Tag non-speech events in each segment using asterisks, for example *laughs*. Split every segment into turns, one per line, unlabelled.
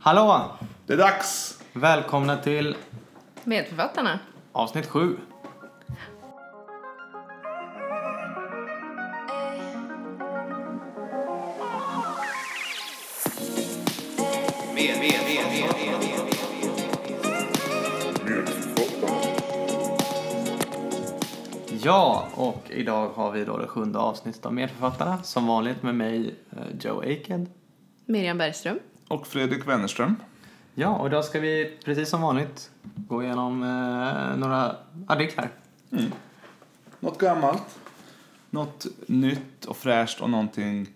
Hallå!
Det är dags!
Välkomna till
Medförfattarna.
avsnitt 7. Ja, och idag har vi då det sjunde avsnittet av Medförfattarna. Som vanligt med mig, eh, Joe Aked.
Miriam Bergström.
Och Fredrik Wennerström.
Ja, och idag ska vi precis som vanligt gå igenom eh, några artiklar.
Något gammalt. Något nytt och fräscht och någonting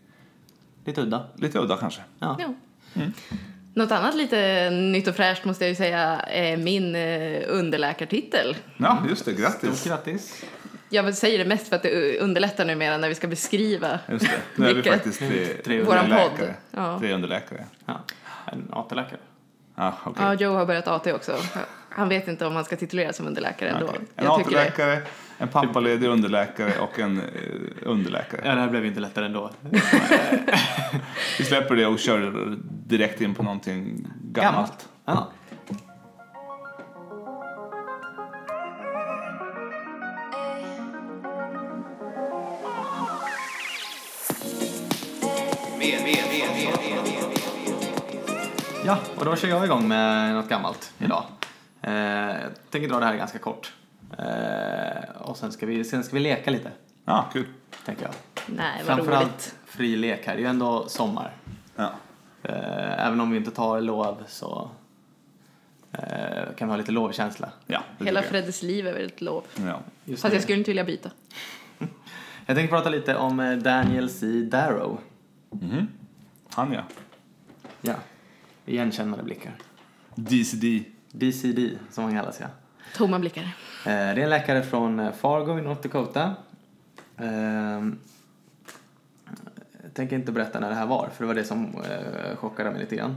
Lite udda.
lite udda kanske.
Ja.
Ja.
Mm.
Något annat lite nytt och fräscht måste jag ju säga är min eh, underläkartitel.
Ja, just det. Grattis!
Stort grattis!
Jag säger det mest för att det underlättar numera när vi ska beskriva.
Just det. Nu är vi
Vilket-
faktiskt tre, tre
Våran
underläkare.
podd. Ja.
Tre underläkare.
Ja. En AT-läkare.
Ja, okej.
Ja, Joe har börjat AT också. Han vet inte om han ska tituleras som underläkare ändå.
Okej. En
Jag tycker det.
AT-läkare, en pappaledig underläkare och en eh, underläkare.
Ja, det här blev ju inte lättare ändå.
Vi släpper det och kör direkt in på någonting gammalt.
Ja. Ja, och då kör jag igång med något gammalt idag. Eh, jag tänker dra det här ganska kort. Eh, och sen ska, vi, sen ska vi leka lite,
Ja, Ah, kul.
tänker jag.
Nej, vad roligt.
Framförallt fri lek här, det är ju ändå sommar.
Ja.
Eh, även om vi inte tar lov så eh, kan vi ha lite lovkänsla.
Ja, det
Hela
tycker
Freddes liv är väl ett lov.
jag. ja.
Just
Fast
nu.
jag skulle inte vilja byta.
Jag tänkte prata lite om eh, Daniel C. Darrow.
Mhm. Han ja.
Ja. Igenkännande blickar.
DCD.
DCD, som han kallas, ja.
Tomma blickar.
Eh, Det är en läkare från eh, Fargo i North Dakota. Ehm, Jag tänker inte berätta när det här var, för det var det som eh, chockade mig lite grann.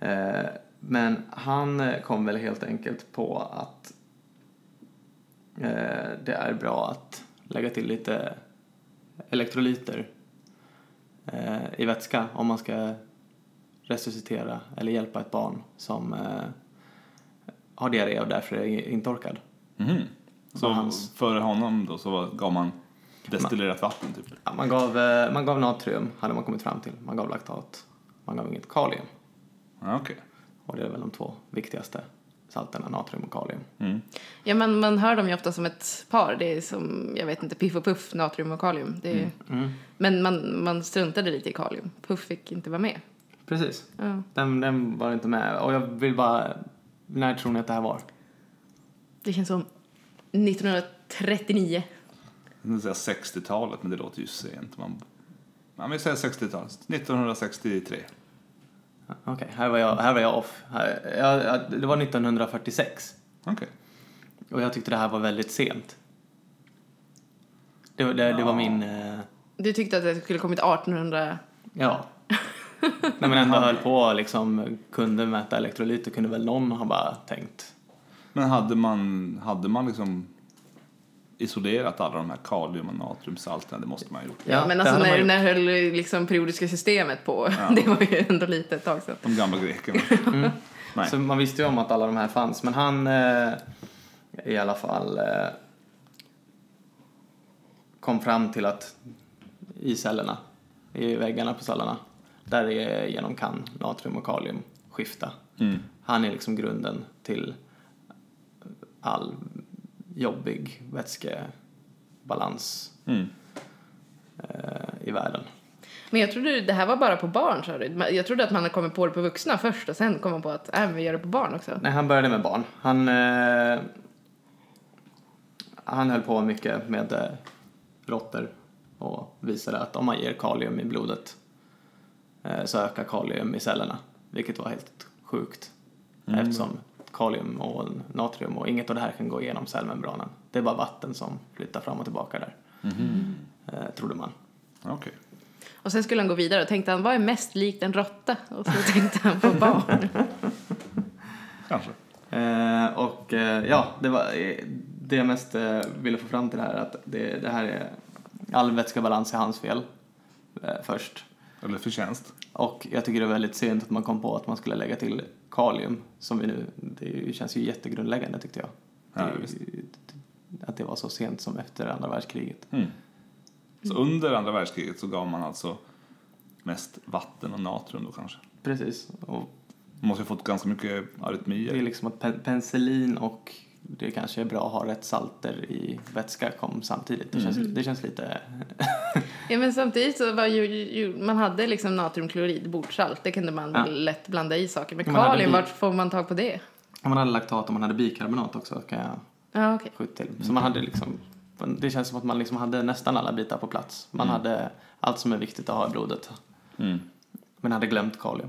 Eh, Men han eh, kom väl helt enkelt på att eh, det är bra att lägga till lite elektrolyter eh, i vätska om man ska resuscitera eller hjälpa ett barn som eh, har diarré och därför är intorkad.
Mhm. Så
Var hans-
före honom då så var- gav man destillerat vatten typ?
Ja, man, gav, eh, man gav natrium, hade man kommit fram till. Man gav laktat. Man gav inget kalium.
Ja, okej.
Och det är väl de två viktigaste salterna, natrium och kalium.
Mm.
Ja, men man hör dem ju ofta som ett par. Det är som, jag vet inte, Piff och Puff, natrium och kalium. Det är,
Mm,
Men man, man struntade lite i kalium. Puff fick inte vara med.
Precis.
Ja,
Den, den var inte med. Och jag vill bara... När tror ni att det här var?
det känns som 1939.
Jag tänkte säga 60-talet, men det låter ju sent. Man, man vill säga 60-talet. 1963.
Ja, Okej, här, var jag- här var jag off. Här, jag, jag, det var 1946.
Okej.
Och jag tyckte det här var väldigt sent. Det, var- det, det var min... eh,
Du tyckte att det skulle kommit 1800.
Ja. När man ändå höll på liksom, kunde mäta elektrolyter kunde väl någon ha bara tänkt
Men hade man, hade man liksom isolerat alla de här kalium och natriumsalterna? Det måste man ju ha gjort.
Ja, men
det
alltså
hade man
när,
gjort.
när höll liksom periodiska systemet på? *laughs* Det var ju ändå lite ett tag sedan.
De gamla *laughs* grekerna. Nej.
Så man visste ju om att alla de här fanns, men han eh, i alla fall eh, kom fram till att i cellerna, i väggarna på cellerna, där genom kan natrium och kalium skifta.
Mm.
Han är liksom grunden till all jobbig vätskebalans
Mm.
eh, i världen.
Men jag trodde det här var bara på barn, sa du. Jag trodde att man hade kommit på det på vuxna först och sen kom man på att äh, men vi gör det på barn också.
Nej, han började med barn. Han, eh, han höll på mycket med eh, råttor och visade att om man ger kalium i blodet eh, så ökar kalium i cellerna, vilket var helt sjukt eftersom kalium och natrium och inget av det här kan gå igenom cellmembranen. Det är bara vatten som flyttar fram och tillbaka där, eh, trodde man.
Okej.
Och sen skulle han gå vidare och tänkte han, vad är mest likt en råtta? Och så tänkte han på barn.
Kanske.
Eh, och eh, ja, det, var, eh, det jag mest eh, ville få fram till det här är att det, det här är all vätskebalans är hans fel eh, först.
Eller förtjänst.
Och jag tycker det är väldigt sent att man kom på att man skulle lägga till kalium, som vi nu, det är ju- känns ju jättegrundläggande tyckte jag.
Ja,
det, är ju- att det var så sent som efter andra världskriget.
Mm. Så under andra världskriget så gav man alltså mest vatten och natrium då kanske.
Precis, och
Man måste ju fått ganska mycket
det är
arytmier.
liksom att pen- penicillin och det kanske är bra att ha rätt salter i vätska kom samtidigt. Det känns, det känns lite...
Ja, men samtidigt så var ju, ju, man hade liksom natriumklorid, bordsalt. Det kunde man
Ja.
lätt blanda i saker. Men
Man hade
kalium,
bi-
vart får man tag på det?
Om man hade laktat och man hade bikarbonat också kan jag
Ja, okej.
skjuta till. Så man hade liksom... Det känns som att man liksom hade nästan alla bitar på plats. Man hade allt som är viktigt att ha i blodet.
Mm.
Men hade glömt kalium.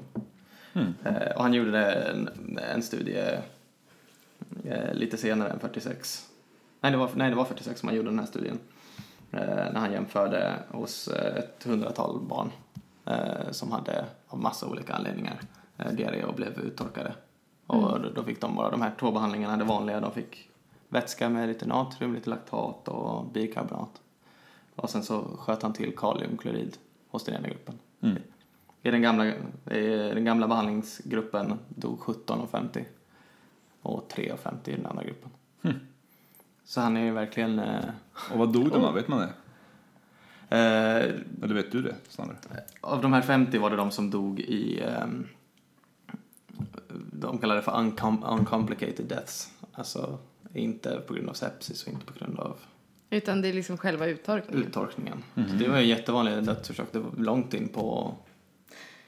Mm.
Eh, och han gjorde en, en studie eh, lite senare än 46. Nej det, var, nej, det var 46 som han gjorde den här studien. Eh, när han jämförde hos eh, ett hundratal barn eh, som hade av massa olika anledningar eh, diarré och blev uttorkade. Och då- då fick de bara de här två behandlingarna, det vanliga, de fick vätska med lite natrium, lite laktat och bikarbonat. Och sen så sköt han till kaliumklorid hos den ena gruppen.
Mm.
I den gamla, i den gamla behandlingsgruppen dog 17,50 och 3,50 i den andra gruppen.
Hmm.
Så han är ju verkligen... Eh,
Och vad dog de av? Vet man det?
eh,
Eller vet du det snarare?
av de här 50 var det de som dog i... ehm, de kallar det för uncom- uncomplicated deaths. Alltså inte på grund av sepsis och inte på grund av
Utan det är liksom själva
Mm.
uttorkningen.
uttorkningen.
Mhm.
Så det var ju en jättevanlig dödsorsak. Det var långt in på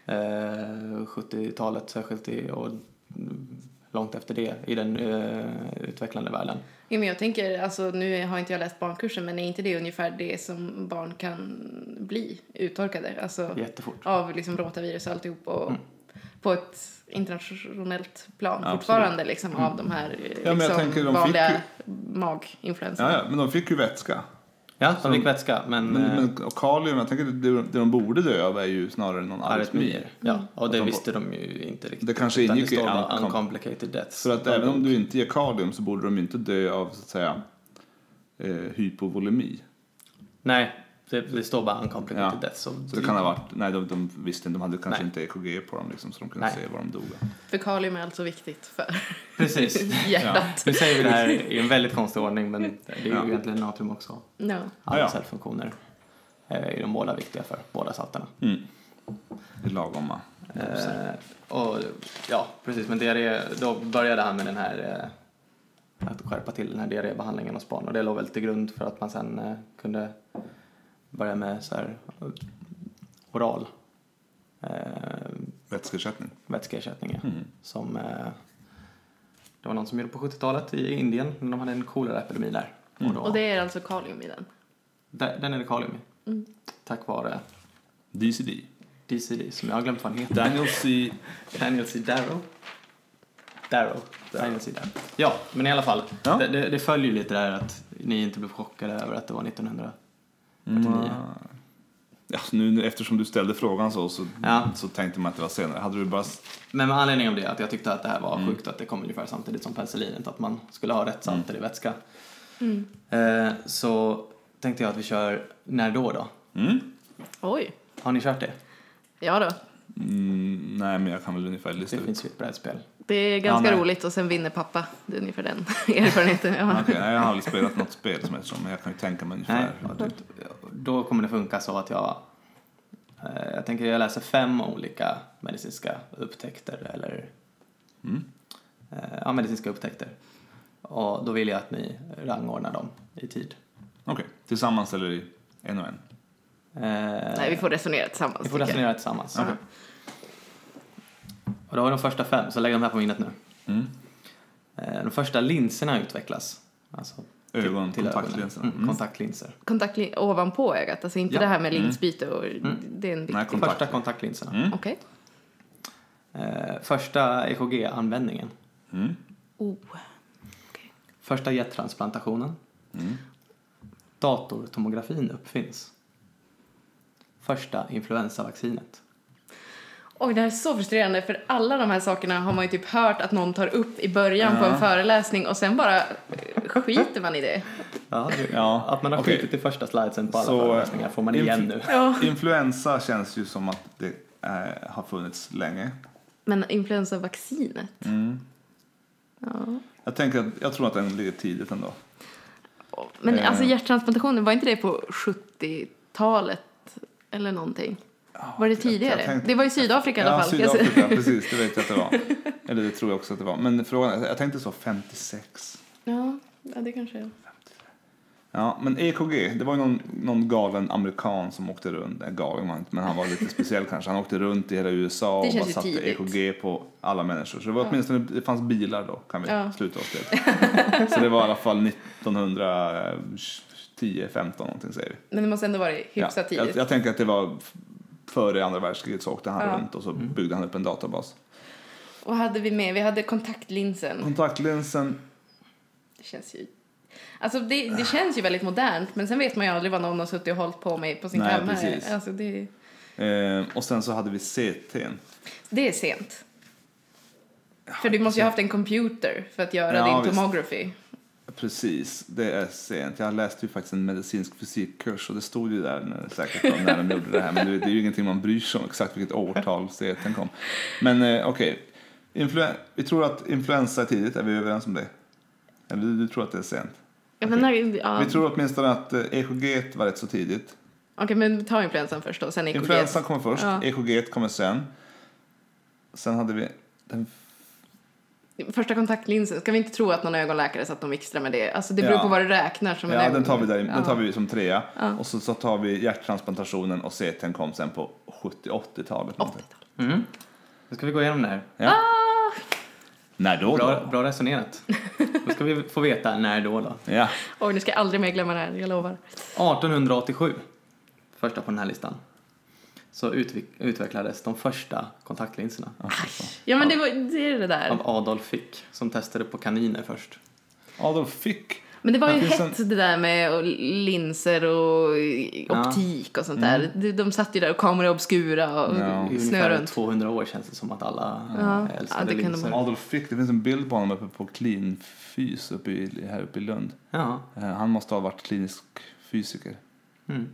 eh, 70-talet särskilt i, och mm, långt efter det i den eh, utvecklande världen.
Ja, men jag tänker, alltså, nu har inte jag läst barnkursen, men är inte det ungefär det som barn kan bli uttorkade? Alltså
Jättefort.
av liksom rotavirus och alltihop och på ett internationellt plan
Mm. Absolut. Mm.
fortfarande liksom av de här eh,
men jag
liksom,
tänker, de fick
vanliga
ju-
maginfluensorna.
Ja, ja, men de fick ju vätska.
Ja, de fick vätska men,
Men,
eh,
men, och kalium, jag tänker att det, det de borde dö av är ju snarare någon arytmi.
arytmier. Ja, och det
Mm. de-
visste de ju inte riktigt.
Det kanske
Utan
ingick i
det står
uncom-
uncomplicated deaths.
För att
De-
även om du inte ger kalium så borde de ju inte dö av så att säga eh, hypovolemi.
Nej, det, det står bara uncomplicated
Ja.
deaths. och-
Så det kan ha varit, nej de, de visste inte, de hade kanske
Nej.
inte EKG på dem liksom så de kunde
Nej.
se vad de dog av.
För kalium är alltså viktigt
*laughs*
för
Precis.
hjärtat.
Nu säger vi det här i en väldigt konstig ordning men det är ju
Ja.
egentligen natrium också.
Ja.
Alla
Ah, ja.
cellfunktioner eh, är de båda viktiga för, båda salterna.
Mm. I lagomma.
Eh, och, ja, precis. Men diarré, då började han med den här eh, att skärpa till den här diarrébehandlingen hos barn och det låg väl till grund för att man sen eh, kunde börja med så här eh, oral eh,
Vätskeersättning.
vätskeersättning. ja.
Mm.
Som eh, det var någon som gjorde på 70-talet i Indien när de hade en koleraepidemi där.
Mm.
då,
Och det är alltså kalium i den.
där, den är det kalium i.
Mm.
Tack vare
DCD.
DCD som jag har glömt vad han heter.
Daniel C.
Daniel C. Darrow. Darrow. Daniel C. Darrow. Ja, men i alla fall.
Ja.
Det, det, det följer ju lite där att ni inte blev chockade över att det var 1900.
Mm. Ja, nu, nu, eftersom du ställde frågan så, så,
Ja.
så tänkte man att det var senare. Hade du bara... s-
Men med anledning av det, att jag tyckte att det här var sjukt att det kom ungefär samtidigt som penicillinet, att man skulle ha rätt salter i vätska.
Mm.
Eh, så tänkte jag att vi kör När då då?
Mm?
Oj.
Har ni kört det?
Ja då.
Mm, nej, men jag kan väl ungefär lista
Det
ut.
finns ju ett brädspel.
Det är ganska
nej.
roligt och sen vinner pappa. Det är ungefär den *laughs* erfarenheten jag har.
Okej, nej, jag har aldrig spelat något spel som heter så, men jag kan ju tänka mig
Nej,
ungefär.
och då kommer det funka så att jag eh, jag tänker jag läser fem olika medicinska upptäckter eller
Mm.
eh, ja, medicinska upptäckter. Och då vill jag att ni rangordnar dem i tid.
Okej, tillsammans eller i en och en?
Eh,
Nej, vi får resonera tillsammans.
ni får
tycker jag.
resonera tillsammans.
Okej.
Och då har vi de första fem, så lägg de här på minnet nu.
Mm.
Eh, de första linserna utvecklas. Alltså
Ögon,
ögonen.
kontaktlinserna.
Mm,
Mm.
kontaktlinser.
Kontaktlin ovanpå ögat, alltså inte
Ja.
det här med
Mm.
linsbyte och det är en viktig...
Nej,
De
Kontakt.
Första kontaktlinserna.
Mm.
Okej.
Eh, första EKG-användningen.
Mm.
Oh.
Första hjärttransplantationen.
Mm.
Datortomografin uppfinns. Första influensavaccinet.
Oj, det här är så frustrerande för alla de här sakerna har man ju typ hört att någon tar upp i början på en
Ja.
föreläsning och sen bara eh, skiter man i det.
Ja, det-
Ja,
Att man har
okej.
skitit i första slidesen på alla
Så,
föreläsningar får man igen nu.
Ja.
Influensa känns ju som att det eh, har funnits länge. Mm.
Men influensavaccinet? Ja.
Jag, tänker att, jag tror att den ligger tidigt ändå.
Men
Eh.
alltså hjärttransplantationer, var inte det på 70-talet eller någonting? Var det
jag- jag
tidigare?
tänkte-
det var i Sydafrika i alla fall. kan jag *laughs* säga.
Sydafrika, precis. Det vet jag att det var. Eller det tror jag också att det var. Men frågan är, jag tänkte så 56.
Ja, ja, det kanske är.
Ja, men EKG, det var ju någon, någon galen amerikan som åkte runt, nej galen var han inte, men han var
*laughs*
lite speciell kanske. Han åkte runt i hela USA
Det
och bara
känns ju
satte
tidigt.
EKG på alla människor. Så det var åtminstone, det fanns bilar då, kan vi
Ja.
sluta oss
*laughs*
till. så det var i alla fall 1910, 15 någonting säger vi.
Men det måste ändå varit hyfsat
jag,
tidigt.
jag tänker att det var f- före andra världskriget så åkte han
Ja.
runt och så byggde han upp en databas.
Och hade vi med, vi hade kontaktlinsen.
Kontaktlinsen,
Det känns ju... Alltså det,
Ah.
det känns ju väldigt modernt men sen vet man ju aldrig vad någon har suttit och hållit på med på sin
Nej,
kammare.
precis.
Alltså det,
eh, och sen så hade vi CT'n.
det är sent. För du måste ju ha haft en computer för att göra
Ja,
din
visst.
tomography.
Precis, det är sent. Jag läste ju faktiskt en medicinsk fysikkurs och det stod ju där när, säkert då, när de gjorde det här. Men du vet, det är ju ingenting man bryr sig om exakt vilket årtal CT'n kom. Men eh, okej, Influen- vi tror att influensa är tidigt, är vi överens om det? Eller du, du tror att det är sent?
Ja, men, när- ja. E
Vi tror åtminstone att eh, EKG var rätt så tidigt.
Okej, men ta influensan först då, sen EKG.
Influensan kommer först,
Ja.
EKG kommer sen. Sen hade vi den
Första kontaktlinsen, ska vi inte tro att någon ögonläkare satt dem extra med det? Alltså det beror
Ja.
på vad du räknar som en
Ja,
ögon-
den tar vi, där,
Ja.
den tar vi som trea.
Ja.
Och så, så tar vi hjärttransplantationen och CT'n kom sen på 70-80-talet. någonting.
80-tal.
Mm. Nu ska vi gå igenom det här.
När då?
Bra,
då?
bra resonerat. Nu ska vi få veta när då då.
Ja.
Oj, nu ska jag aldrig mer glömma det här, jag lovar.
1887, första på den här listan, så utvik- utvecklades de första kontaktlinserna
Ja, men det, var, det är det där.
av Adolf Fick som testade på kaniner först.
Adolf Fick.
Men det var ju
Ja, det
hett det där med och linser och
Ja.
optik och sånt där. De, de satt ju där och kamera obskura och
Mm. Ja.
I
snö
ungefär
runt.
200 år känns det som att alla
Ja.
eh, älskade
Ja, det kunde
linser.
man-
Adolf Fick, det finns en bild på honom uppe på klinfys uppe i, här uppe i Lund.
Ja,
Eh, Han måste ha varit klinisk fysiker.
mm.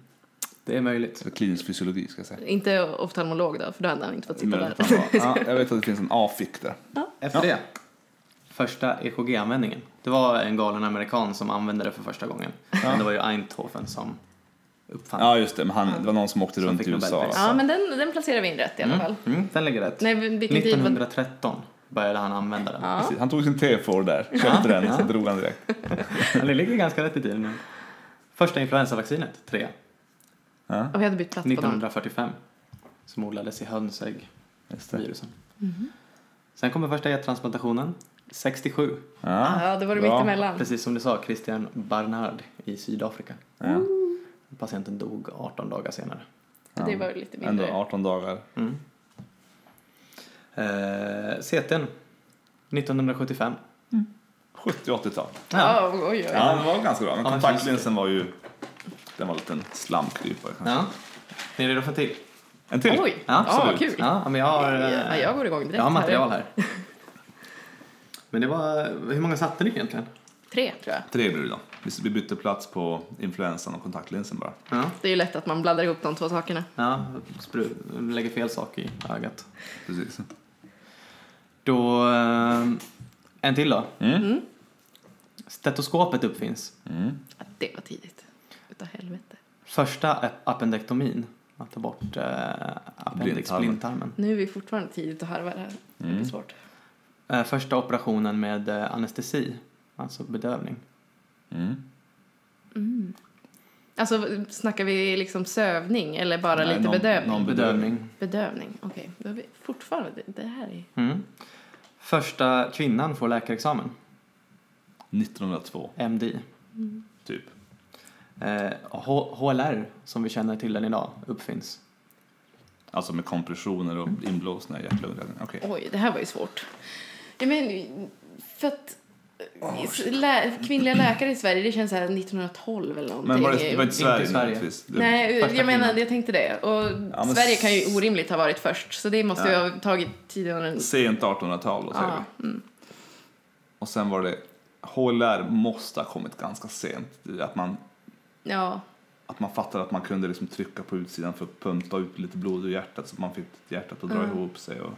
det är möjligt.
Eller klinisk fysiologi ska jag säga.
Inte oftalmolog då, för då hade han inte fått sitta
Möjligt
där.
att han var. Ja, jag vet att det finns en A-fick där.
Efter det, första EKG-användningen. Det var en galen amerikan som använde det för första gången. Men det var ju Eindhoven som uppfann
Ja just det, men han, det var någon som åkte
Som
runt
fick
i USA.
Nobelpris.
Ja, men den, den placerar vi in rätt i alla fall.
Mm. Mm, den ligger rätt.
Nej, men vilken tid var
1913 började han använda den.
ja.
Precis. Han tog sin T4 där, köpte den och sen drog han direkt.
Men det ligger ganska rätt i tiden nu. Första influensavaccinet, 3,
Ja,
Och vi hade bytt plats på dem.
1945. Som odlades i hönsägg,
just det.
virusen.
Mhm.
Sen kommer första hjärttransplantationen, 67.
Ja.
Ja, då var det
Bra.
mittemellan.
Precis som du sa, Christian Barnard i Sydafrika.
Ja.
Patienten dog 18 dagar senare.
Så Det var ju lite
Ändå
mindre.
18 dagar.
Mm. Eh, CT'n, 1975.
70-80-tal.
Ja, oj, oj. oj.
Ja, den var ganska bra. Men
Ja, men
kontaktlinsen var ju... Den var en liten slamkrypare kanske.
Ja. Ni är redo för en till?
En till?
Oj,
Ja,
ja, vad
absolut.
kul.
Ja, men jag har, eh,
Ja, jag går igång direkt.
jag har material
här. *laughs*
här. Men det var, hur många satte ni egentligen?
Tre, tror jag.
Tre blir det då. Vi- Vi bytte plats på influensan och kontaktlinsen bara.
Ja,
Det är ju lätt att man blandar ihop de två sakerna.
ja spru- lägger fel sak i ögat.
Precis.
Då, eh, en till då.
Mm.
Stetoskopet uppfinns.
Mm.
Ja, Det var tidigt. Utav helvete.
Första ap- appendektomin, att ta bort eh, appendix,
Blindtarmen.
blindtarmen.
Nu är vi fortfarande tidigt och harvar här. Det
Mm.
blir svårt.
Eh, första operationen med eh, anestesi, alltså bedövning.
Mm.
Mm. Alltså, snackar vi liksom sövning eller bara
Nej,
lite
någon-
bedövning?
någon-
Bedövning.
Bedövning, okej. Då är vi fortfarande... Det här är...
Mm. Första kvinnan får läkarexamen,
1902,
MD.
Mm.
typ.
Eh, H- HLR, som vi känner till den idag, uppfinns.
Alltså med kompressioner och inblåsningar i hjärt-lungräddningen. Okej.
Oj, det här var ju svårt. Jag menar, för att... lä, kvinnliga läkare i Sverige, det känns så här 1912 eller någonting.
Men var det, det var inte
Inte i
Sverige,
Sverige.
naturligtvis. Det-
Nej,
Första
jag menar,
kvinnan.
jag tänkte det. Och
men
Sverige
s-
kan ju orimligt ha varit först, så det måste ju
Ja.
ha tagit tiden.
Sent 1800-tal då, säger
Ja, mm.
vi. Och sen var det... HLR måste ha kommit ganska sent. Att man
Ja,
Att man fattade att man kunde liksom trycka på utsidan för att pumpa ut lite blod ur hjärtat så att man fick hjärtat att dra ihop sig. Och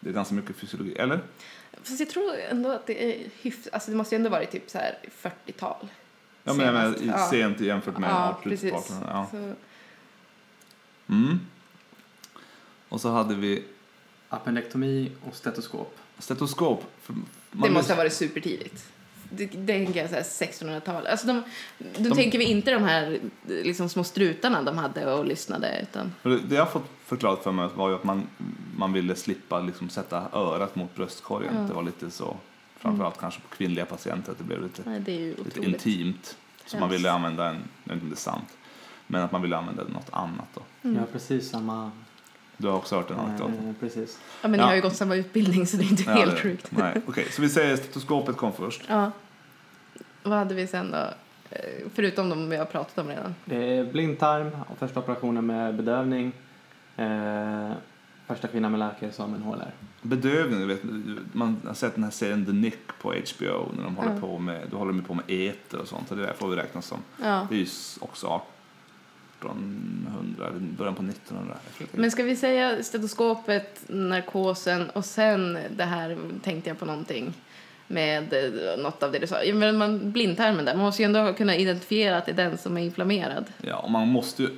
det är ganska mycket fysiologi, eller?
Fast jag tror ändå att det är hyfsat, alltså det måste ju ändå varit typ så här 40-tal.
Ja, men jag menar,
Senast.
i-
Ja.
sent jämfört med
ja,
1800-talet.
precis.
Ja.
Så,
Mm. Och så hade vi
Appendektomi och stetoskop.
stetoskop. För
det
man-
måste ha varit supertidigt. Det, det tänker jag så här 1600-tal. Alltså de, då
De-
tänker vi inte de här liksom små strutarna de hade och lyssnade utan
För Det det jag fått förklarat för mig var ju att man, man ville slippa liksom sätta örat mot bröstkorgen.
Ja.
Det var lite så, framförallt kanske på kvinnliga patienter, att det blev lite,
nej, det är ju
lite
otroligt.
intimt. Så man ville använda en, jag vet inte om det är sant, men att man ville använda något annat då.
Mm.
Jag har precis samma...
Du har också hört den anekdoten?
eh, precis.
Ja, men
Ja.
ni har ju gått samma utbildning så det är inte
Ja,
helt
det-
sjukt.
Nej, okej. Så vi säger stetoskopet kom först.
Ja. Vad hade vi sen då? Eh, Förutom de vi har pratat om redan.
Det är blindtarm och första operationen med bedövning. Eh, första kvinnan med läkarexamen HLR.
Bedövning, du vet, man har sett den här serien The Nick på HBO när de håller
Ja.
på med, då håller de på med eter och sånt och det där får vi räknas som.
Ja.
Det är ju s- också 1800, eller början på 1900. Jag tror att det är-
Men ska vi säga stetoskopet, narkosen och sen det här tänkte jag på någonting med eh, något av det du sa. Ja, Men man, blindtarmen där, man måste ju ändå kunna identifiera att det är den som är inflammerad.
Ja, och man måste ju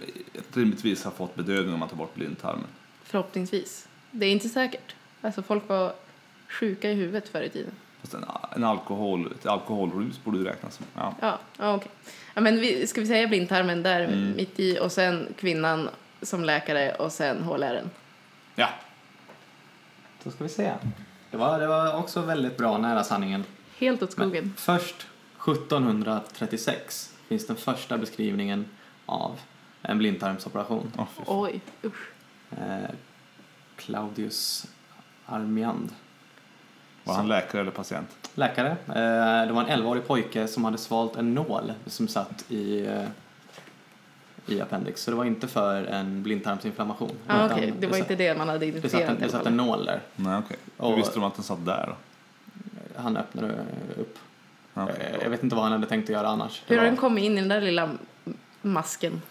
rimligtvis ha fått bedövning om man tar bort blindtarmen.
Förhoppningsvis. Det är inte säkert. Alltså folk var sjuka i huvudet förr i tiden.
Fast en, en alkohol, ett alkoholrus borde ju räknas som. Ja.
Ja, ja okej. Ja, men vi, ska vi säga blindtarmen där mitt i och sen kvinnan som läkare och sen HLR-en?
ja.
Då ska vi se. Det var, det var också väldigt bra nära sanningen.
Helt åt skogen.
Men först 1736 finns den första beskrivningen av en blindtarmsoperation.
Åh, fy fan.
Oj, usch.
Eh, Claudius Armiand,
Var han läkare eller patient?
läkare. Eh, det var en 11-årig pojke som hade svalt en nål som satt i, eh, i appendix. Så det var inte för en blindtarmsinflammation.
Ja,
utan
Ah, okej, det var
satt-
inte det man hade
det satt, en,
identifierat i
det
alla
satt
fall.
en nål där.
Nej, okej. Hur
Och-
visste de att den satt där då?
Han öppnade upp.
Ja, okej.
Eh, Jag vet inte vad han hade tänkt att göra annars. Det
Hur har
var-
den kommit in i den där lilla m- masken?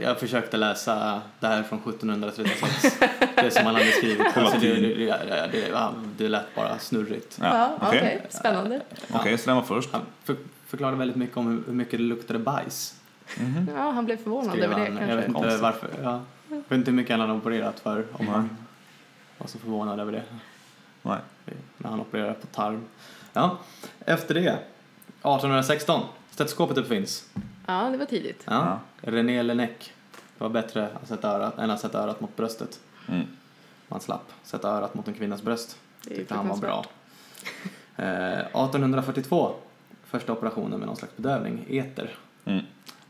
Jag försökte läsa det här från 1736. det som han hade skrivit.
På
Alltså det,
latin.
det, det, det, ja, det lät bara snurrigt.
Ja, okej.
Spännande.
Okej, så den var först.
Han för, förklarade väldigt mycket om hur- hur mycket det luktade bajs.
Mhm.
Ja, han blev förvånad
skrev
över det
han. Jag vet
kanske.
inte
Konstigt.
varför. Ja. Jag vet inte hur mycket han hade opererat för om han var så förvånad över det.
Nej.
När han opererade på tarm. Ja. Efter det, 1816, stetoskopet uppfinns.
Ja, det var tidigt.
Ja. René Lenec. Det var bättre att sätta örat, än att sätta örat mot bröstet.
Mm.
Man slapp sätta örat mot en kvinnas bröst.
Det är
tyckte han var bra.
fruktansvärt.
*laughs* Eh, 1842, första operationen med någon slags bedövning, eter,
Mm.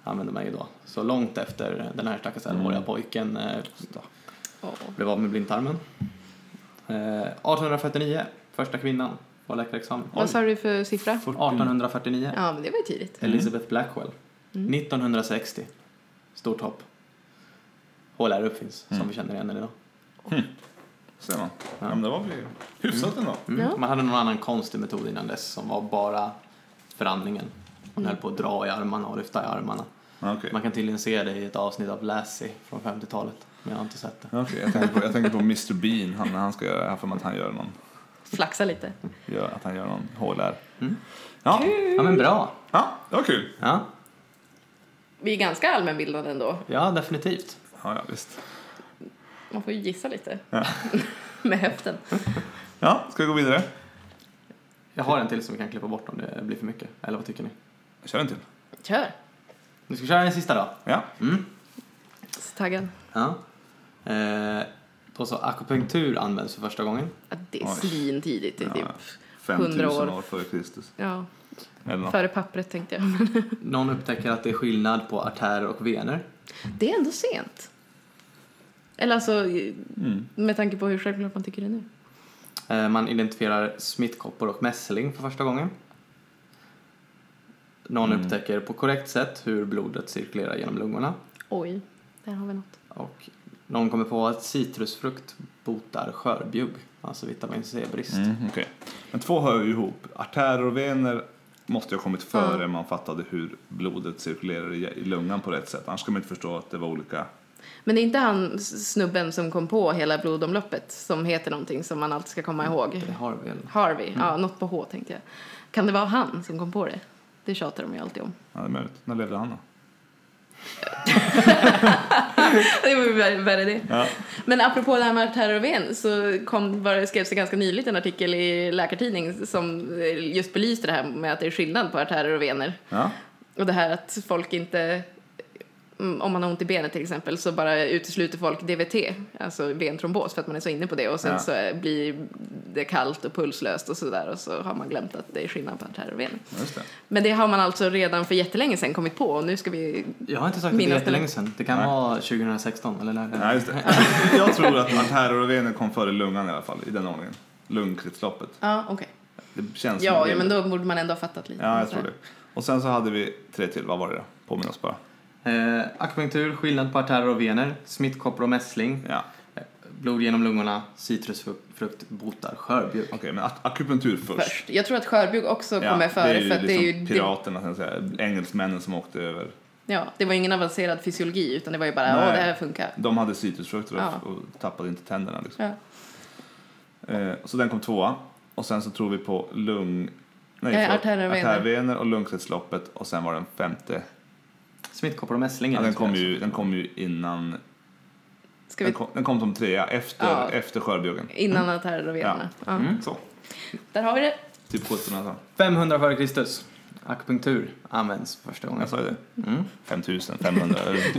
använde man ju då. Så långt efter den här stackars 11-åriga pojken eh,
Åh.
blev av med blindtarmen. Eh, 1849, första kvinnan var läkarexamen.
Vad sa du för siffra?
1849,
Ja, Mm. men det var ju tidigt.
Elizabeth Blackwell. 1960, stort hopp. HLR uppfinns, som vi känner igen den idag.
Ser man. Ja. men det var väl hyfsat ändå.
Mm.
Ja.
Man hade någon annan konstig metod innan dess som var bara för andningen. Man höll på att dra i armarna och lyfta i armarna.
Ja, Ah, Okej,
Man kan tydligen se det i ett avsnitt av Lassie från 50-talet, men jag har inte sett det.
Ja, Ah, okej. jag, tänkte på, jag tänkte på Mr Bean, han, när han ska göra det här för mig att han gör någon,
Flaxa lite.
gör, att han gör någon HLR. Ja.
Ja, men bra!
ja, det var kul.
Ja,
Vi är ganska allmänbildade ändå.
ja definitivt.
Ja, ja, visst.
Man får ju gissa lite.
Ja.
*laughs* Med höften.
Ja, ska vi gå vidare?
Jag har en till som vi kan klippa bort om det blir för mycket. Eller vad tycker ni?
Kör en till.
Kör.
Nu ska vi köra den sista då. Mm.
Ja.
Så taggad.
Ja. Eh, då så, akupunktur används för första gången.
Ja, det är
Oj.
svintidigt. Det är
Ja.
typ,
5000
100
år.
år
före Kristus.
ja,
Eller något.
före pappret tänkte jag. *laughs* Men
Någon upptäcker att det är skillnad på artärer och vener.
det är ändå sent. Eller alltså,
Mm.
med tanke på hur självklart man tycker det nu.
Eh, Man identifierar smittkoppor och mässling för första gången. Någon
Mm.
upptäcker på korrekt sätt hur blodet cirkulerar genom lungorna.
Oj, där har vi något.
Och någon kommer på att citrusfrukt botar skörbjugg, alltså vitamin C-brist.
Mm, okej. Men två hör ju ihop. Artärer och vener måste ju ha kommit före man fattade hur blodet cirkulerar i i lungan på rätt sätt. Annars ska man inte förstå att det var olika.
Men det är inte han s- snubben som kom på hela blodomloppet som heter någonting som man alltid ska komma ihåg.
Det har vi väl.
Harvey, ja, något på H tänkte jag. Kan det vara han som kom på det? Det tjatar de ju alltid om.
Ja, det är möjligt. När levde han då?
*laughs* det var ju värre värre det.
Ja.
Men apropå det här med artärer och ven så kom, var, det- skrevs det ganska nyligt en artikel i Läkartidning som eh, just belyste det här med att det är skillnad på artärer och vener.
Ja.
Och det här att folk inte, mm, om man har ont i benet till exempel, så bara utesluter folk DVT, alltså ventrombos, för att man är så inne på det. Och sen
Ja.
så eh, blir det kallt och pulslöst och sådär och så har man glömt att det är skillnad på artärer och vener.
Ja, Just det.
Men det har man alltså redan för jättelänge sedan kommit på och nu ska vi...
Jag har inte sagt det
Minnas det
jättelänge sedan. Det kan
Nej.
vara 2016 eller när det
Ja, just det. *laughs* Jag tror att artärer och vener kom före lungan i alla fall, i den ordningen. Lungkretsloppet.
Ja, okej.
Det känns som
Ja,
det.
ja, men då borde man ändå ha fattat lite.
Ja, jag tror det. Och sen så hade vi tre till. Vad var det då? Påminn oss bara.
Eh, akupunktur, skillnad på artärer och vener, smittkoppor och mässling,
Ja.
blod genom lungorna, citrusfrukt botar skörbjugg.
Okej, men ak- akupunktur först.
Först. Jag tror att skörbjugg också
Ja,
kommer före
ju
för att det är ju...
liksom piraterna, så att säga. engelsmännen som åkte över.
Det, ja, det var ingen avancerad fysiologi utan det var ju bara,
Nej.
åh, det här funkar.
De hade citrusfrukter och,
Ja.
och tappade inte tänderna. Liksom.
Ja.
Eh, så den kom tvåa. Och sen så tror vi på lung... Nej,
Eh,
förlåt.
artärer och vener.
artärvener och lungkretsloppet. Och sen var den femte.
Smittkoppor och mässling.
Ja,
är det
den,
som
kom
är
ju,
så.
den kom ju innan...
Ska
Den
vi...
kom, den kom som trea efter,
Ja.
efter skörbjuggen.
Innan artärer
Mm.
och venerna. Ja.
Så,
Där har vi det.
typ 1700-talet.
500 före Kristus. Akupunktur används första gången.
Jag sa ju det.
Mm.
5500.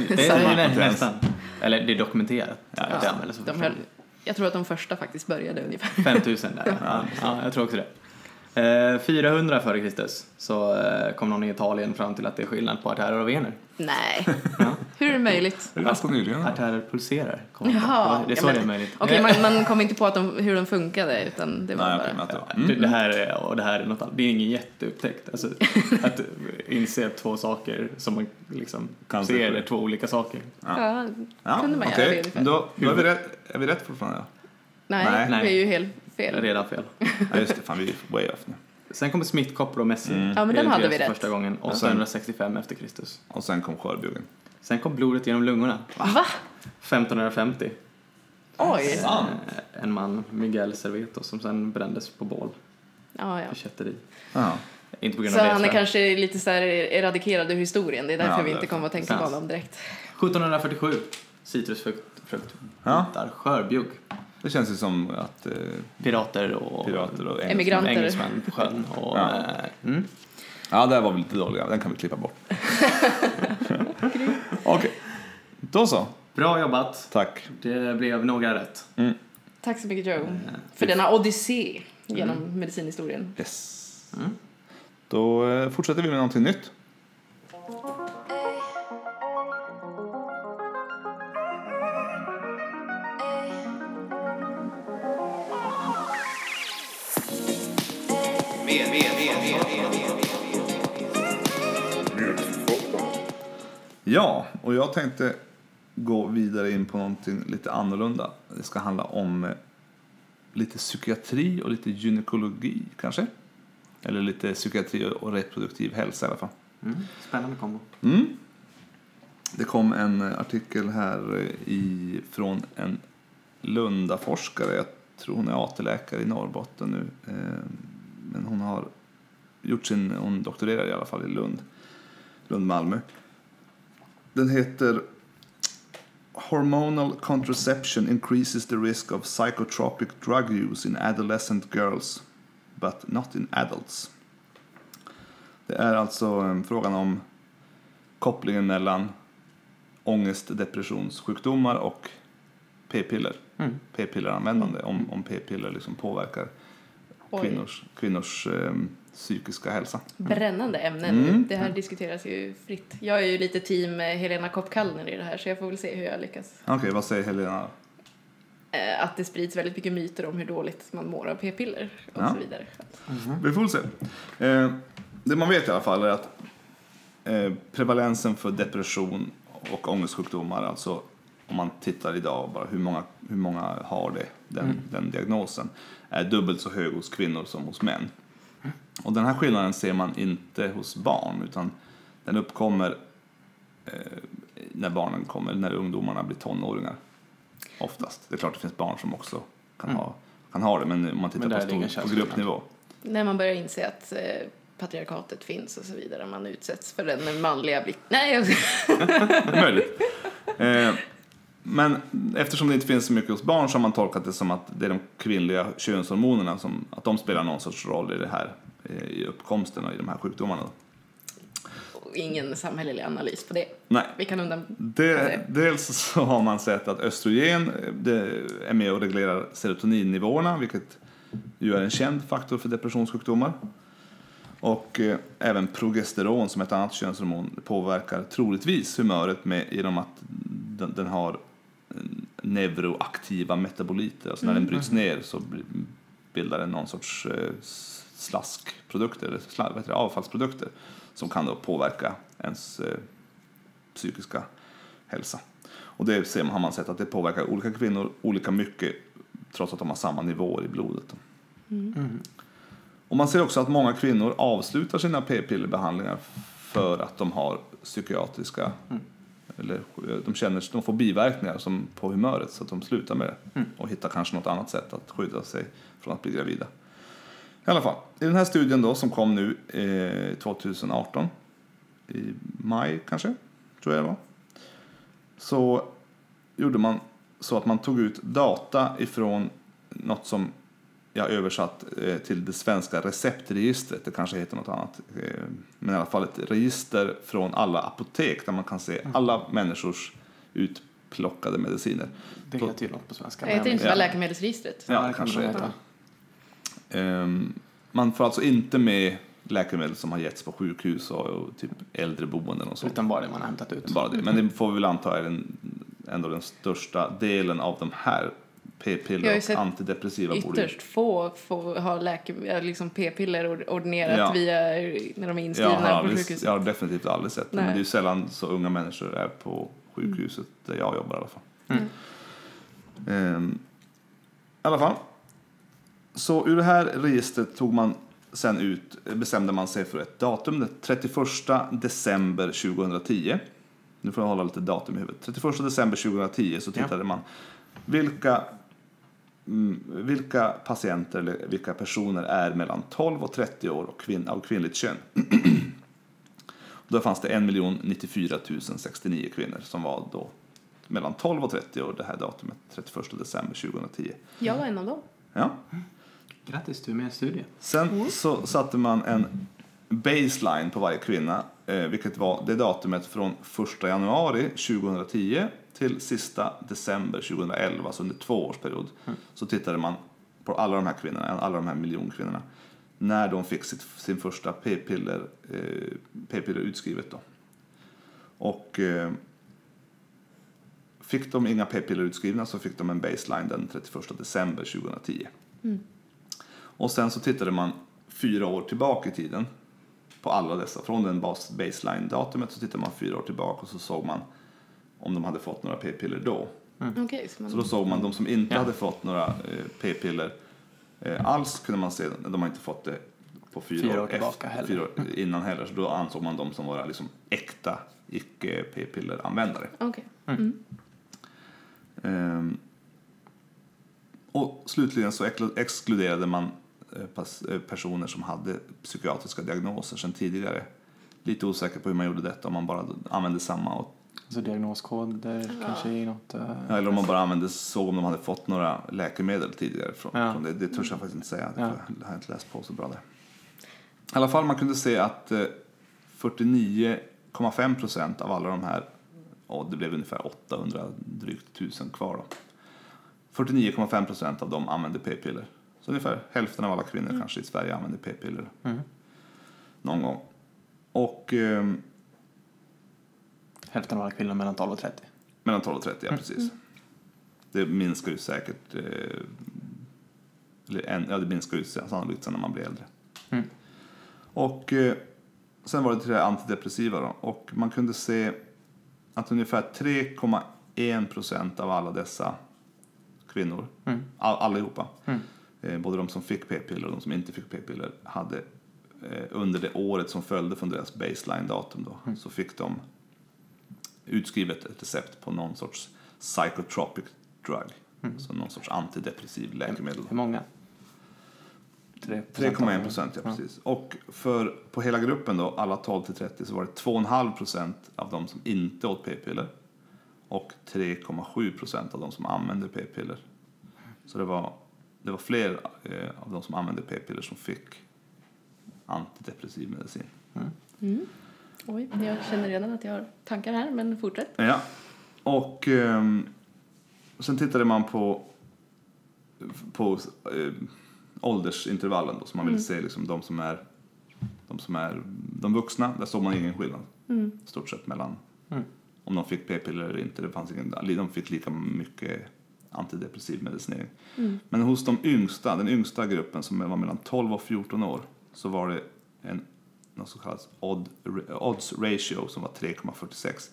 Det
sa
är
jag.
nä- nästan. Eller det är dokumenterat. att det
Ja,
användes som
de
första
höll, jag tror att de första faktiskt började
*laughs*
ungefär.
5000 där. Ja, ja, jag tror också det. Eh, 400 före Kristus så eh, kom någon i Italien fram till att det är skillnad på artärer och vener.
Nej,
Ja.
hur är det möjligt?
Det är ganska nyligen. va?
Artärer pulserar. kom de på.
Jaha.
Det är så
ja, men-
det är möjligt. Eh,
Okej, man, man kom inte på att de, hur de funkade utan det var
Nej,
bara...
okej, men att det var.
Ja,
Mm.
Det, det, här är, och det här är något annat. Det är ingen jätteupptäckt.
*laughs*
Alltså, att inse två saker som man liksom
Kan se
ser
på
är
det.
två olika saker.
Ja,
Ja,
kunde man göra
okej.
det ungefär.
Då, då är, vi rätt, är vi rätt fortfarande?
nej,
Nej.
det är ju helt
Det är
fel.
redan fel.
Ja, ja just det. Fan, vi är way off nu.
Sen kommer smittkoppor och mässing.
Mm.
Ja, men
Det är
den
det
hade vi
tredje
rätt.
Första gången.
Ja.
865 efter Kristus.
Och sen kom skörbjuggen.
Sen kom blodet genom lungorna.
Va?
1550.
Oj! Ja,
Sant.
Eh, En man, Miguel Cerveto, som sen brändes på bål
ja.
för kätteri.
Ja.
Inte på grund
Så
av det,
han är
tror jag.
kanske lite så här eradikerad ur historien. Det är därför
Ja,
vi inte
därför.
kommer att tänka på
Sans.
honom direkt.
1747. Citrusfrukt, frukt,
Ja.
bitar, skörbjugg.
Det känns ju som att eh,
Pirater och
pirater och engelsmän...
Emigranter.
engelsmän på sjön. Och,
Ja.
eh, mm.
Ja, där var vi lite dåliga. Den kan vi klippa
*laughs*
bort. Okej. Då så.
Bra jobbat.
Tack.
Det blev några rätt. Eh,
Tack så mycket Joe för denna odyssé genom
Mm.
medicinhistorien.
Yes.
Mm.
Då eh, fortsätter vi med någonting nytt. Ja, och jag tänkte gå vidare in på någonting lite annorlunda. Det ska handla om eh, lite psykiatri och lite gynekologi kanske. Eller lite psykiatri och reproduktiv hälsa i alla fall.
Mm. Spännande kombo.
Mm. Det kom en eh, artikel här eh, i, från en Lundaforskare. Jag tror hon är AT-läkare i Norrbotten nu. Eh, Men hon har gjort sin, hon doktorerar i alla fall i Lund. Lund, Malmö. Den heter Hormonal contraception increases the risk of psychotropic drug use in adolescent girls, but not in adults. Det är alltså eh, frågan om kopplingen mellan ångest, depressionssjukdomar och p-piller.
Mm.
P-pilleranvändande, om, om p-piller liksom påverkar
Oj.
kvinnors, kvinnors eh, psykiska hälsa.
Brännande ämnen.
Mm.
Det här diskuteras ju fritt. Jag är ju lite team eh, Helena Kopp-Kallner i det här så jag får väl se hur jag lyckas.
Okej, vad säger Helena?
Eh, Att det sprids väldigt mycket myter om hur dåligt man mår av p-piller och
Ja.
så vidare.
Mm.
Vi får väl se. Eh, det man vet i alla fall är att eh, prevalensen för depression och ångestsjukdomar, alltså om man tittar idag bara hur många, hur
Mm.
många har det, den, den diagnosen, är dubbelt så hög hos kvinnor som hos män.
Mm.
Och den här skillnaden ser man inte hos barn utan den uppkommer eh, när barnen kommer, när ungdomarna blir tonåringar. Oftast. Det är klart det finns barn som också kan,
Mm.
ha, kan ha det men om man tittar
Men där är det
på,
ingen
stor, på
könsskillnad.
gruppnivå.
När man börjar inse att eh, patriarkatet finns och så vidare. Man utsätts för den manliga blicken. Nej, jag... *laughs*
Möjligt. Eh, men eftersom det inte finns så mycket hos barn så har man tolkat det som att det är de kvinnliga könshormonerna som att de spelar någon sorts roll i det här eh, i uppkomsten och i de här sjukdomarna. då.
ingen samhällelig analys på det.
Nej,
Vi kan undan...
det, dels så har man sett att östrogen eh, det är med och reglerar serotoninnivåerna vilket ju är en känd faktor för depressionssjukdomar. Och eh, även progesteron som är ett annat könshormon påverkar troligtvis humöret med, genom att den, den har eh, neuroaktiva metaboliter. Alltså när den bryts ner så blir- bildar den någon sorts eh, s- slaskprodukter, eller sla, vad heter det, avfallsprodukter som kan då påverka ens eh, psykiska hälsa. Och det ser man, har man sett att det påverkar olika kvinnor olika mycket trots att de har samma nivåer i blodet. Då. Och man ser också att många kvinnor avslutar sina p-pillerbehandlingar för att de har psykiatriska eller eh, de känner de får biverkningar som på humöret så att de slutar med det och hittar kanske något annat sätt att skydda sig från att bli gravida. I alla fall, i den här studien då som kom nu eh, 2018 i maj kanske, tror jag det var. Så gjorde man så att man tog ut data ifrån något som jag översatt eh, till det svenska receptregistret, det kanske heter något annat. eh, Men i alla fall ett register från alla apotek där man kan se alla människors utplockade mediciner.
Det heter ju något på svenska.
Jag heter
men-
inte bara läkemedelsregistret.
Ja, det kanske det heter.
Ehm, Man får alltså inte med läkemedel som har getts på sjukhus och, och typ äldreboenden och sånt.
Utan bara det man har hämtat ut.
Bara det. Men det får vi väl anta är den, ändå den största delen av de här
Jag har
p-piller
ju
och
sett
antidepressiva borde ju-
Ytterst få får ha läke, liksom p-piller ord- ordinerat
Ja.
via när de är
jag
inskrivna
har,
på
aldrig,
sjukhus.
jag har definitivt aldrig sett det, men
Nej. Mm.
det är ju sällan så unga människor är på sjukhuset där jag jobbar i alla fall.
Mm.
Ehm, I alla fall. Så ur det här registret tog man sen ut, bestämde man sig för ett datum, den 31 december 2010. Nu får jag hålla lite datum i huvudet. 31 december 2010 så tittade man vilka, mm, vilka patienter eller vilka personer är mellan 12 och 30 år och kvinn, av kvinnligt kön. Då fanns det 1 094 069 kvinnor som var då mellan 12 och 30 år det här datumet, 31 december 2010.
Jag var en av dem.
Ja.
Grattis, du är med i studien.
Sen så satte man en baseline på varje kvinna, eh, vilket var det datumet från 1 januari 2010 till sista december 2011, alltså under två års period. Så tittade man på alla de här kvinnorna, alla de här miljonkvinnorna, när de fick sitt, sin första p-piller, eh, p-piller utskrivet då. Och eh, fick de inga p-piller utskrivna så fick de en baseline den 31 december 2010. Och sen så tittade man fyra år tillbaka i tiden på alla dessa. Från den bas- baseline-datumet så tittade man fyra år tillbaka och så såg man om de hade fått några p-piller då.
Okej, så man...
Så då såg man de som inte
Ja.
hade fått några eh, p-piller eh, alls kunde man se, de har inte fått det på fyra,
Fyra år
efter-
tillbaka heller.
Fyra år innan heller, så då ansåg man dem som vara liksom äkta icke p-piller-användare.
Okej.
Ehm, och slutligen så ekla- exkluderade man eh, pas- eh, personer som hade psykiatriska diagnoser sedan tidigare. Lite osäker på hur man gjorde detta, om man bara använde samma och,
Alltså diagnoskoder kanske i något... eh,
eller om man bara använde såg om de hade fått några läkemedel tidigare. Från,
Ja.
från det. det törs jag faktiskt inte säga,
Ja.
det har jag inte läst på så bra där. I alla fall, man kunde se att eh, 49,5 procent av alla de här, och det blev ungefär 800, drygt 1000 kvar då. 49,5 procent av dem använde p-piller. Så ungefär hälften av alla kvinnor kanske i Sverige använder p-piller
Mm.
någon gång. Och ehm,
Hälften av alla kvinnor mellan 12 och 30.
mellan 12 och 30,
Mm.
ja precis. Det minskar ju säkert, eh, eller en, ja det minskar ju sannolikt sen när man blir äldre.
Mm.
Och eh, sen var det till det här antidepressiva då. Och man kunde se att ungefär 3,1 procent av alla dessa kvinnor,
Mm.
all, allihopa,
Mm.
eh, både de som fick p-piller och de som inte fick p-piller hade eh, under det året som följde från deras baseline-datum då,
Mm.
så fick de utskrivet ett recept på någon sorts psychotropic drug,
Mm.
så någon sorts antidepressiv läkemedel.
Hur många? Tre procent av
3,1
dem.
procent, ja precis. Och för, på hela gruppen då, alla 12 till 30, så var det 2,5 procent av de som inte åt p-piller och 3,7 procent av de som använde p-piller. Så det var, det var fler eh, av de som använde p-piller som fick antidepressiv medicin.
Oj, jag känner redan att jag har tankar här, men fortsätt.
Ja. Och ehm, sen tittade man på, på ehm, åldersintervallen då, så man ville se liksom de som är de som är de vuxna, där såg man ingen skillnad stort sett mellan
Mm.
om de fick p-piller eller inte. Det fanns ingen, de fick lika mycket antidepressiv medicinering.
mm.
Men hos de yngsta, den yngsta gruppen som var mellan 12 och 14 år så var det en, något som kallas odd, odds ratio som var 3,46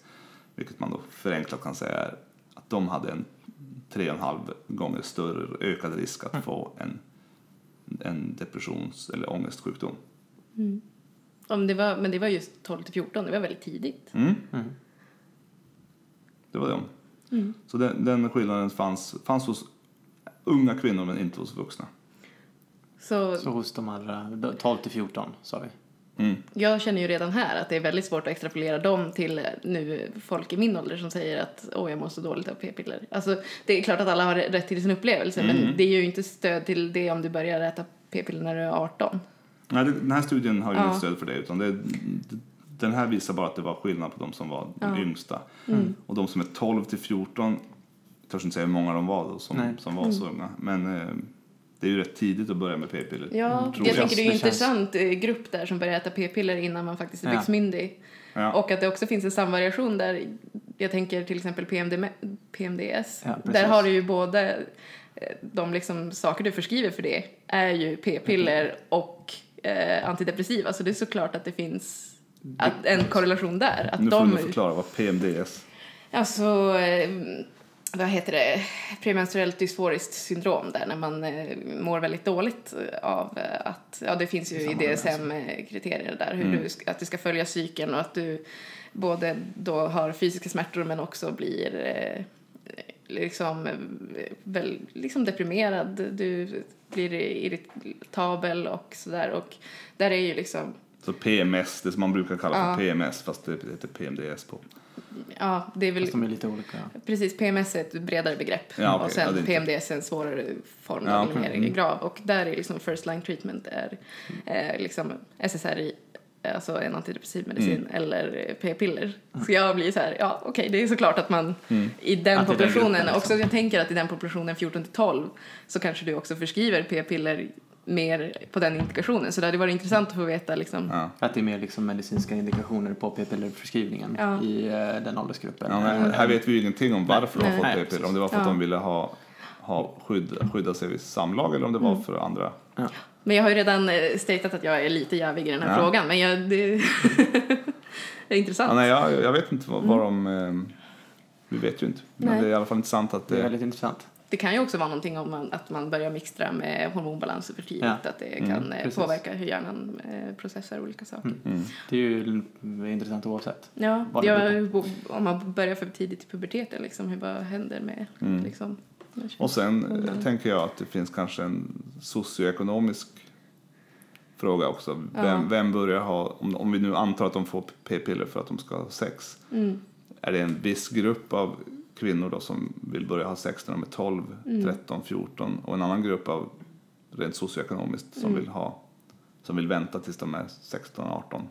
vilket man då förenklat kan säga är att de hade en 3,5 gånger större ökad risk att få en, en depressions eller ångestsjukdom.
Ja, men det var, men det var just 12 till 14, det var väldigt tidigt.
Mm. Det var de. Så den, den skillnaden fanns, fanns hos unga kvinnor men inte hos vuxna.
Så,
Så hos de allra, 12 till 14 sa vi.
jag känner ju redan här att det är väldigt svårt att extrapolera dem till nu folk i min ålder som säger att åh, jag mår så dåligt av p-piller. Alltså, det är klart att alla har rätt till sin upplevelse,
Mm.
men det är ju inte stöd till det om du börjar äta p-piller när du är 18.
Nej, det- den här studien har ju
Ja.
inget stöd för det utan det, den här visar bara att det var skillnad på de som var de yngsta.
Mm.
Och de som är 12 till 14, jag törs inte säga hur många de var då som,
Nej.
som var
Mm.
så unga. Men eh, det är ju rätt tidigt att börja med p-piller.
Ja,
tror
jag
jag.
tänker det är ju en
Mm, Det känns-
intressant eh, grupp där som börjar äta p-piller innan man faktiskt är
Ja.
byxmyndig.
Ja.
Och att det också finns en samvariation där, jag tänker till exempel PMD, PMDS,
Ja, precis.
där har du ju både eh, de liksom saker du förskriver för det är ju p-piller
Mm.
och eh, antidepressiva så det är såklart att det finns att, en korrelation där. Att
Nu får
de,
du förklara vad PMDS
Alltså, eh, vad heter det, premenstruellt dysforiskt syndrom där när man eh, mår väldigt dåligt eh, av eh, att, ja det finns ju i DSM-kriterier eh, där hur du, ska- att du ska följa cykeln och att du både då har fysiska smärtor men också blir eh, liksom, eh, väl, liksom deprimerad, du blir irritabel och sådär och där är ju liksom
Så PMS, det som man brukar kalla för PMS fast det heter PMDS på.
Ja, det är väl
Fast de är lite olika.
Precis, PMS är ett bredare begrepp
Ja, okej.
och sen
Ja, det är inte-
PMDS är en svårare form
Ja,
av
okej. Mm.
mer grav och där är liksom first line treatment är eh, liksom SSRI, alltså en antidepressiv medicin
Mm.
eller eh, p-piller. Så jag blir så här, ja okej det är såklart att man
Mm.
i den
Att i den
populationen,
gruppen, liksom.
också jag tänker att i den populationen 14 till 12 så kanske du också förskriver p-piller mer på den indikationen så det hade varit intressant att få veta liksom
Ja.
Att det är mer liksom medicinska indikationer på p-pillerförskrivningen
Ja.
i eh, den åldersgruppen.
Ja, men här vet vi ju ingenting om varför de
Nej.
har fått
Nej,
p-piller. Om det var för att
Ja.
de ville ha, ha skydd, skydda sig vid samlag eller om det var
Mm.
för andra.
Men jag har ju redan eh, statat att jag är lite jävig i den här
Ja.
frågan, men jag, det, *laughs* det är intressant.
Ja, nej, jag, jag vet inte vad, vad de... eh, Vi vet ju inte. Men
Nej.
det är i alla fall intressant att
Det är
det...
väldigt intressant.
Det kan ju också vara någonting om man, att man börjar mixtra med hormonbalanser för tidigt,
Ja.
att det
Mm,
kan eh,
precis.
påverka hur hjärnan eh, processar olika saker.
Mm.
Det är ju l- intressant oavsett.
Ja,
Vad det
jag, om man börjar för tidigt i puberteten, liksom, hur, vad händer med... Liksom,
Mm. Och sen eh, tänker jag att det finns kanske en socioekonomisk fråga också. Vem, vem börjar ha... Om, om vi nu antar att de får p-piller för att de ska ha sex.
mm.
Är det en viss grupp av kvinnor då som vill börja ha sex när de är 12, 13, 14 och en annan grupp av rent socioekonomiskt som vill ha som vill vänta tills de är 16, 18.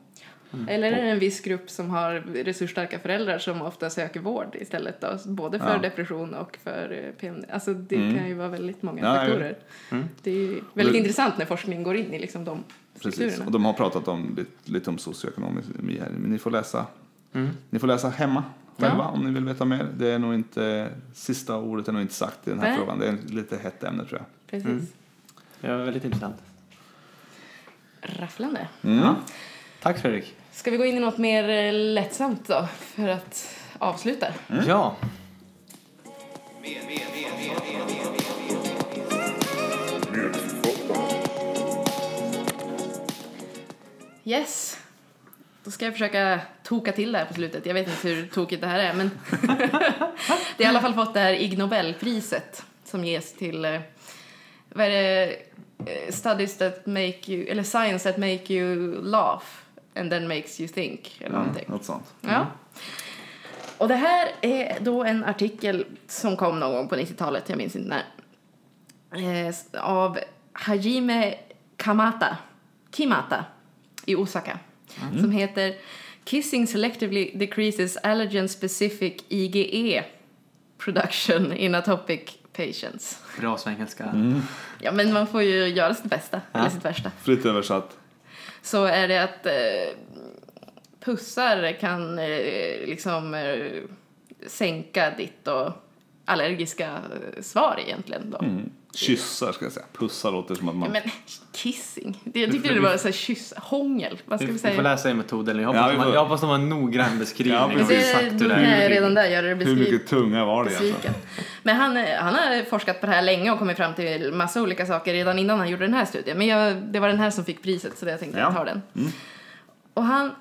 Mm.
Eller är det en viss grupp som har resursstarka föräldrar som ofta söker vård istället, då, både för
Ja. Mm.
depression och för eh, PMD. Alltså det kan ju vara väldigt många
Ja, jag Mm.
faktorer. Det är ju väldigt
Det-
intressant när forskningen går in i liksom de
Precis. Och
strukturerna.
de har pratat om, lite, lite om socioekonomi här. Men ni får läsa,
Mm.
ni får läsa hemma själva om ni vill veta mer. Det är nog inte, sista ordet är nog inte sagt i den här
Nej.
frågan. Det är lite hett ämne tror jag.
Precis.
Mm.
Det var väldigt intressant.
Rafflande.
Mm.
Tack Fredrik.
Ska vi gå in i något mer eh, lättsamt då för att avsluta?
Mm.
Ja,
Medvetenhet.
Yes. Då ska jag försöka toka till det här på slutet. Jag vet inte hur tokigt det här är, men *laughs* det har i alla fall fått det här Ig Nobelpriset som ges till, eh, vad är det, eh, studies that make you, eller science that make you laugh and then makes you think, eller
Ja,
någonting.
något sånt.
Ja. Och det här är då en artikel som kom någon gång på 90-talet, jag minns inte när. Eh, s- Av Hajime Kamata, Kimata, i Osaka. Som heter Kissing selectively decreases allergen specific IgE production in atopic patients.
Bra svengelska.
Mm.
Ja, men man får ju göra sitt bästa, eller sitt värsta
Fritt översatt.
så är det att eh, pussar kan eh, liksom eh, sänka ditt och allergiska eh, svar egentligen då.
Mm. Kyssar ska jag säga. Pussar låter som att man...
Men kissing, det, jag tyckte det var så här kyss, hångel, vad
Vi,
ska vi
vi
säga?
får läsa er metoden. Jag
Ja,
hoppas,
vi
man,
får-
jag hoppas de har en noggrann beskrivning.
Ja,
av
precis.
exakt hur det är.
Nej, redan där gör det
Hur
beskrivet.
mycket tunga var det egentligen?
Besviken. Men han, eh, han har forskat på det här länge och kommit fram till massa olika saker redan innan han gjorde den här studien. Men jag, det var den här som fick priset så jag tänkte
Ja.
jag tar den.
Mm.
Och han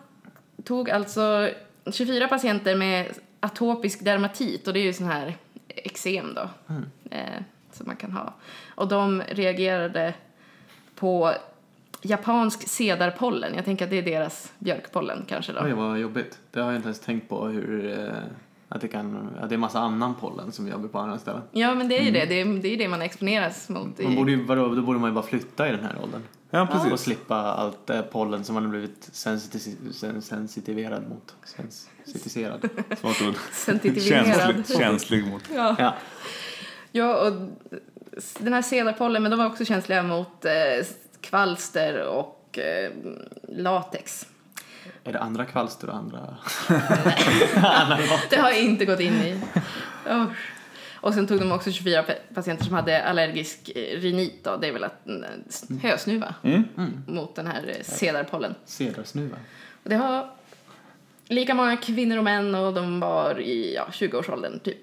tog alltså 24 patienter med atopisk dermatit och det är ju sån här eksem då.
Mm.
Eh, som man kan ha. Och de reagerade på japansk cedarpollen. Jag tänker att det är deras björkpollen kanske då.
Oj, vad jobbigt. Det har jag inte ens tänkt på hur... Eh, att det kan... Att det är massa annan pollen som jobbar på andra ställen.
Ja men det är ju det. det, är, det är ju det man exponeras mot.
Mm. Man
i-
borde ju, vadå, då borde man ju bara flytta i den här åldern.
Ja,
Och
precis.
slippa allt det pollen som man har blivit sensitis- sen- sensitiverad mot.
*laughs*
Sensitiserad.
Svårt ord.
Sensitiverad.
Känslig, känslig mot.
Ja.
Ja.
ja, och den här cedarpollen, men de var också känsliga mot eh, kvalster och eh, latex.
Är det andra kvalster och andra...
Det har jag inte gått in i. Usch. Och sen tog de också 24 pa- patienter som hade allergisk eh, rinit, då. det är väl att en eh, hösnuva,
Mm.
mot den här eh, cedarpollen.
Cedarsnuva.
Och det har lika många kvinnor och män och de var i ja, 20-årsåldern typ.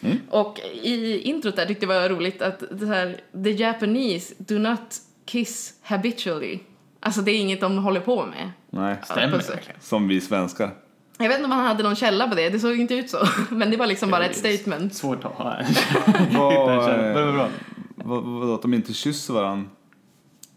Mm.
Och i introt där tyckte jag det var roligt att det här the Japanese do not kiss habitually. Alltså det är inget de håller på med.
Nej.
Stämmer
Puss.
det verkligen?
Som vi svenskar.
Jag vet inte om han hade någon källa på det, det såg inte ut så. *laughs* Men det var liksom bara ett
Det är
statement.
Svårt att ha.
Vad,
Men *laughs* det var bra.
vad, vadå, att de inte kysser varandra?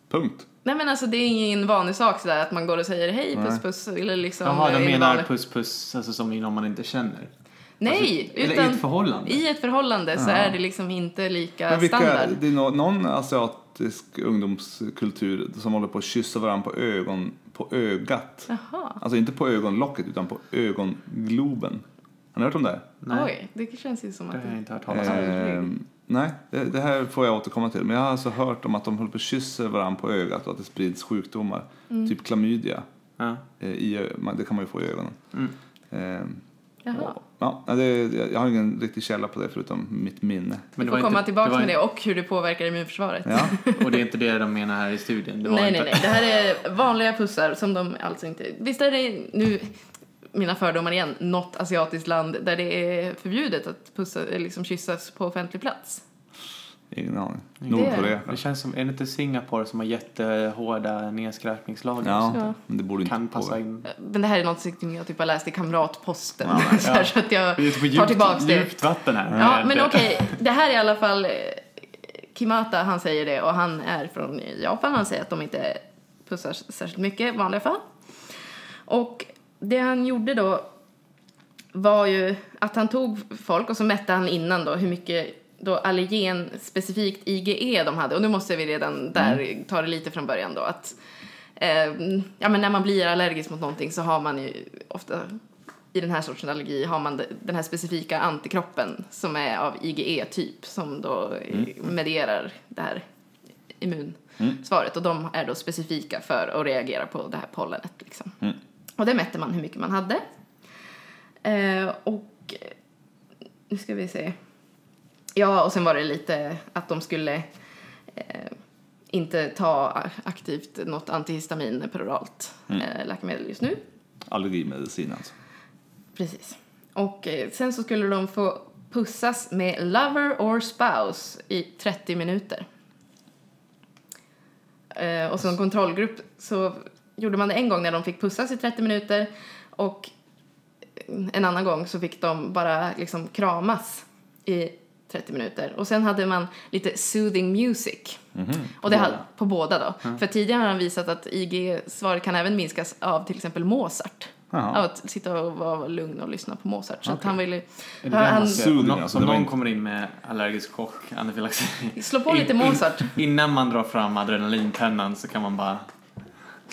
Punkt.
Nej men alltså det är ingen vanlig sak sådär att man går och säger hej
Nej.
puss puss eller liksom.
Jaha,
eh,
de
i
menar
vanlig-
puss puss, alltså som i någon man inte känner.
Nej,
Eller
utan
i ett förhållande.
i ett förhållande så
Ja.
är det liksom inte lika
Men vilka,
standard.
det är nå- någon asiatisk ungdomskultur som håller på att kyssa varandra på, ögon, på ögat.
Jaha.
Alltså inte på ögonlocket utan på ögongloben. Har ni hört om det? här?
Nej.
Oj, det känns ju som
Det
att...
har jag inte hört talas om.
Mm.
Ehm, nej, det, det här får jag återkomma till. Men jag har alltså hört om att de håller på att kyssa varandra på ögat och att det sprids sjukdomar. Typ klamydia.
Ja.
eh, I, ö- man- det kan man ju få i ögonen. Ehm,
Jaha.
och, ja, nej, det, jag jag har ingen riktig källa på det förutom mitt minne.
Du
det
får
var
komma
inte-
tillbaka
var
med det och hur det påverkar immunförsvaret.
Ja,
Och det är inte det de menar här i studien. Det var
nej,
inte...
nej, nej. Det här är vanliga pussar som de alltså inte... Visst är det nu, mina fördomar igen, något asiatiskt land där det är förbjudet att pussa, eller liksom kyssas på offentlig plats?
ingen aning.
Ingen
Nordkorea.
Det känns som, är det inte Singapore som har jättehårda nedskräpningslagar?
Ja,
Ja.
men det borde
som
inte
kan passa
påverka.
in.
Men det här är något som jag typ har läst i Kamratposten.
Ja,
så, här, *laughs* så att jag
Vi är ute på
tar
djupt,
tillbaka det.
djupt vatten här.
Ja, men
Eh, Det-
okej. Det här är i alla fall eh, Kimata, han säger det och han är från Japan. Han säger att de inte pussar särskilt mycket i vanliga fall. Och det han gjorde då var ju att han tog folk och så mätte han innan då hur mycket då allergen specifikt IgE de hade. Och nu måste vi redan där ta det lite från början då att eh, ja, men när man blir allergisk mot någonting så har man ju ofta i den här sortens allergi har man de- den här specifika antikroppen som är av IgE-typ som då eh, medierar det här immunsvaret och de är då specifika för att reagera på det här pollenet liksom. Och det mätte man hur mycket man hade. Eh, och eh, nu ska vi se. Ja, och sen var det lite att de skulle eh, inte ta aktivt något antihistamin peroralt eh, läkemedel just nu.
Allergimedicin alltså.
Precis. Och eh, sen så skulle de få pussas med lover or spouse i 30 minuter. Eh, och som kontrollgrupp så gjorde man det en gång när de fick pussas i 30 minuter och en annan gång så fick de bara liksom kramas i 30 minuter. Och sen hade man lite soothing music. och det hade, på båda då. För tidigare har han visat att IG-svar kan även minskas av till exempel Mozart.
Jaha.
Av att sitta och vara lugn och lyssna på Mozart. Så att han ville...
Är det
Han,
han,
ser? Soothing,
någon,
alltså,
som
det var
någon
inte-
kommer in med allergisk chock, anafylaxi.
slå på lite
In- in-
Mozart.
Innan man drar fram adrenalinpennan så kan man bara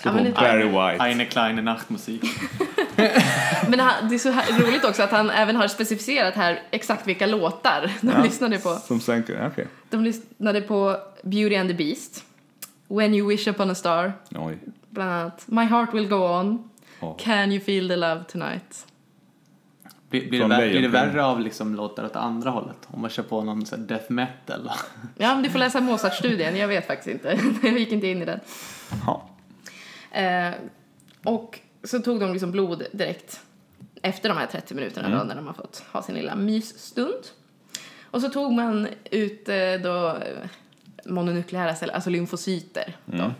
Ja, men lite-
Barry White.
Eine kleine Nachtmusik.
Men han, det är så här, roligt också att han även har specificerat här exakt vilka låtar de
Ja.
lyssnade på.
Som sänker, okej.
De lyssnade på Beauty and the Beast, When You Wish Upon a Star,
Oj.
bland annat My Heart Will Go On,
Ja.
Can You Feel the Love Tonight.
Blir, blir, det,
Från
vär, blir det
Lejonkungen.
värre av liksom låtar åt andra hållet? Om man kör på någon så här death metal? *laughs*
Ja, men du får läsa Mozart-studien, jag vet faktiskt inte. *laughs* Jag gick inte in i den.
Jaha.
Eh, och så tog de liksom blod direkt efter de här 30 minuterna då, när de har fått ha sin lilla mysstund. Och så tog man ut eh, då eh, mononukleära celler, alltså lymfocyter. Då.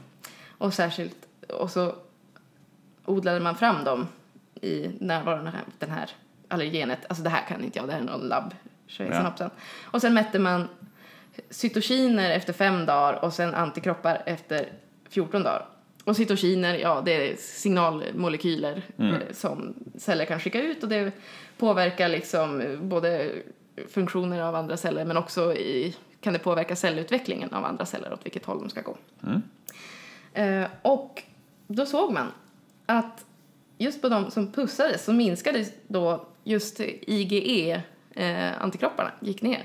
Och särskilt, och så odlade man fram dem i närvaron av den här allergenet. Alltså det här kan inte jag, det här är någon labb.
Ja.
Ja. Och sen mätte man cytokiner efter fem dagar och sen antikroppar efter 14 dagar. Och cytokiner, ja det är signalmolekyler eh, som celler kan skicka ut och det påverkar liksom eh, både funktioner av andra celler men också i, kan det påverka cellutvecklingen av andra celler åt vilket håll de ska gå. Eh, och då såg man att just på de som pussades så minskade då just IgE-antikropparna, eh, gick ner.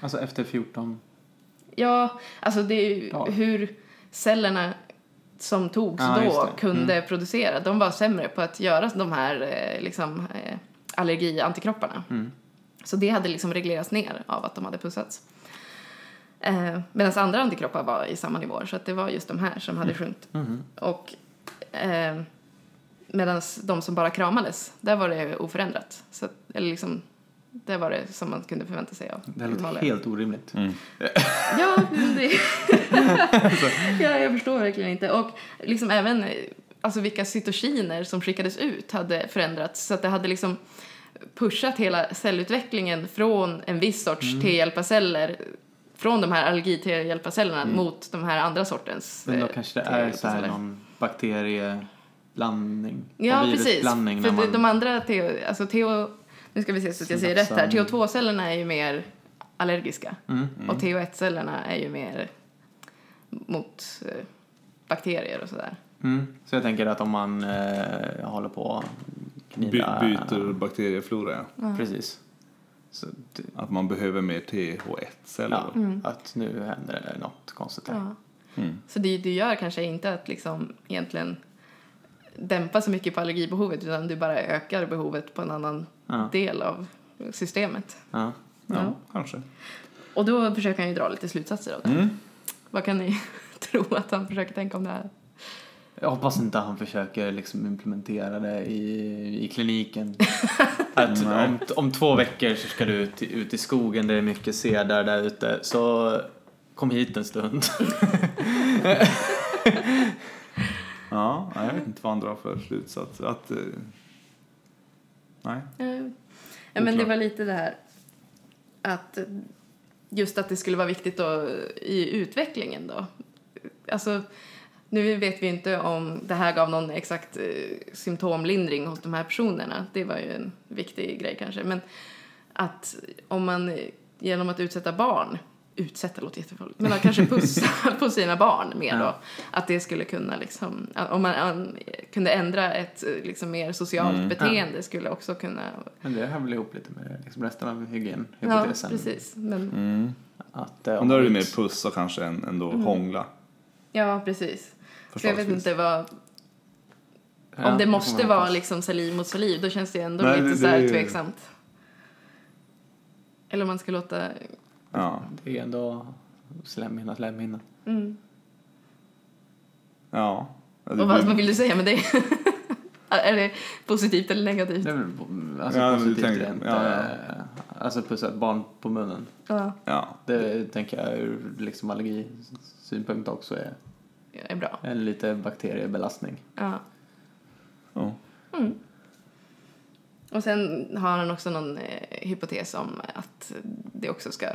Alltså efter 14...
Ja, alltså det är ju
Ja.
hur cellerna som togs
Ja, just
då
det. Mm.
kunde producera. De var sämre på att göra de här eh, liksom, eh, allergiantikropparna.
Mm.
Så det hade liksom reglerats ner av att de hade pussats. Eh, Medan andra antikroppar var i samma nivåer, så att det var just de här som hade
Mm.
sjunkit.
Mm-hmm.
Och eh, medan de som bara kramades, där var det oförändrat. Så, att- eller liksom, där var det som man kunde förvänta sig av
Det här låter
vanliga.
helt orimligt.
Mm.
Ja, men
*laughs*
det... ja, jag förstår verkligen inte. Och liksom även eh, alltså vilka cytokiner som skickades ut hade förändrats så att det hade liksom pushat hela cellutvecklingen från en viss sorts
Mm.
T-hjälparceller från de här allergi-T-hjälparcellerna mot de här andra sortens
Mm. Men då
eh,
kanske det är så här
T-hjälparceller.
någon bakterieblandning.
Ja,
och
precis.
virusblandning
För
när man...
de andra TO, alltså TO, nu ska vi se så att jag säger rätt här,
Synapsen.
TO2-cellerna är ju mer allergiska
Mm,
och TO1-cellerna är ju mer mot eh, bakterier och sådär.
Mm. Så jag tänker att om man eh, håller på och
By,
knida...
byter bakterieflora, ja.
Precis. Så det,
Att man behöver mer TH1-celler.
ja,
då.
att nu händer det något konstigt här.
Ja. Så det du gör kanske inte att liksom egentligen dämpa så mycket på allergibehovet utan du bara ökar behovet på en annan
Ja.
del av systemet.
Ja.
Ja,
Ja.
kanske.
Och då försöker han ju dra lite slutsatser av
Mm.
det. Vad kan ni *laughs* tro att han försöker tänka om det här?
Jag hoppas inte han försöker liksom implementera det i, i *laughs* kliniken. Att
Nej.
om, om två veckor så ska du ut, i- ut i skogen där det är mycket sedar där ute. Så kom hit en stund.
Ja, nej, jag vet inte vad han drar för slutsats. Att, eh, nej.
Eh, Ja, men det
Oklart.
var lite det här att eh, just att det skulle vara viktigt då i utvecklingen då. Alltså, nu vet vi inte om det här gav någon exakt eh, symptomlindring hos de här personerna. Det var ju en viktig grej kanske. Men att om man eh, genom att utsätta barn, utsätta låter jättefarligt, men att kanske pussa *laughs* på sina barn mer då.
Ja.
Att det skulle kunna liksom, om man eh, kunde ändra ett eh, liksom mer socialt beteende skulle också kunna
*laughs* Men det hör väl ihop lite med liksom resten av
Ja,
hygienhypotesen.
precis. Men,
Att, eh,
Men då är det
om-
mer pussa kanske än, än då hångla.
Ja, precis. Så jag vet
Förslagsvis.
inte vad...
Ja, får
om det
man
måste
hoppas.
vara liksom saliv mot saliv, då känns det ändå
Nej,
lite
det-
så här
det-
tveksamt. Eller om man ska låta...
Ja.
Det är ändå slemhinna, slemhinna.
Mm.
ja. Ja, det
Och vad,
blir-
vad vill du säga med det? *laughs* är det positivt eller negativt?
Det är väl bo- alltså
Ja, men du
positivt
tänker-
rent.
ja, ja.
eh, Alltså pussa ett barn på munnen.
Ja.
ja.
Det tänker jag ur liksom allergisynpunkt också är
är bra.
En lite bakteriebelastning.
Ja.
Ja.
Och sen har han också någon eh, hypotes om att det också ska,